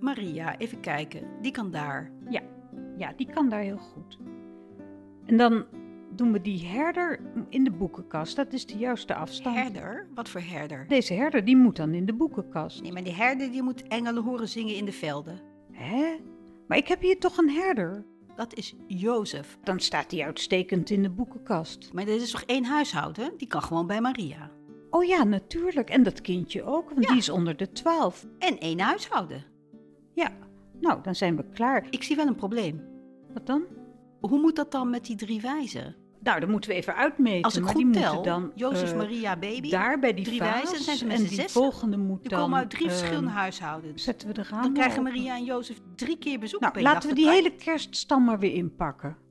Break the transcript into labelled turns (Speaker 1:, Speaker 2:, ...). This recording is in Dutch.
Speaker 1: Maria, even kijken. Die kan daar.
Speaker 2: Ja, die kan daar heel goed. En dan doen we die herder in de boekenkast. Dat is de juiste afstand.
Speaker 1: Herder? Wat voor herder?
Speaker 2: Deze herder die moet dan in de boekenkast.
Speaker 1: Nee, maar die herder die moet engelen horen zingen in de velden.
Speaker 2: Hè? Maar ik heb hier toch een herder?
Speaker 1: Dat is Jozef.
Speaker 2: Dan staat die uitstekend in de boekenkast.
Speaker 1: Maar dit is toch één huishouden? Die kan gewoon bij Maria.
Speaker 2: Oh ja, natuurlijk. En dat kindje ook, want
Speaker 1: Ja.
Speaker 2: die is onder de twaalf.
Speaker 1: En één huishouden.
Speaker 2: Ja, nou, dan zijn we klaar.
Speaker 1: Ik zie wel een probleem.
Speaker 2: Wat dan?
Speaker 1: Hoe moet dat dan met die drie wijzen?
Speaker 2: Nou, dan moeten we even uitmeten.
Speaker 1: Als ik
Speaker 2: maar die
Speaker 1: goed tel,
Speaker 2: moeten dan
Speaker 1: Jozef,
Speaker 2: eh,
Speaker 1: Maria, baby.
Speaker 2: daar bij die
Speaker 1: drie
Speaker 2: vaas,
Speaker 1: wijzen, dan zijn ze met
Speaker 2: en
Speaker 1: z'n
Speaker 2: die
Speaker 1: zessen.
Speaker 2: volgende moet
Speaker 1: die
Speaker 2: dan...
Speaker 1: komen uit drie
Speaker 2: eh,
Speaker 1: verschillende huishoudens.
Speaker 2: Zetten we de ramen
Speaker 1: Dan krijgen
Speaker 2: open.
Speaker 1: Maria en Jozef drie keer bezoek
Speaker 2: Nou,
Speaker 1: per
Speaker 2: laten
Speaker 1: dag.
Speaker 2: we
Speaker 1: Dat
Speaker 2: die
Speaker 1: kan-
Speaker 2: hele kerststam maar weer inpakken.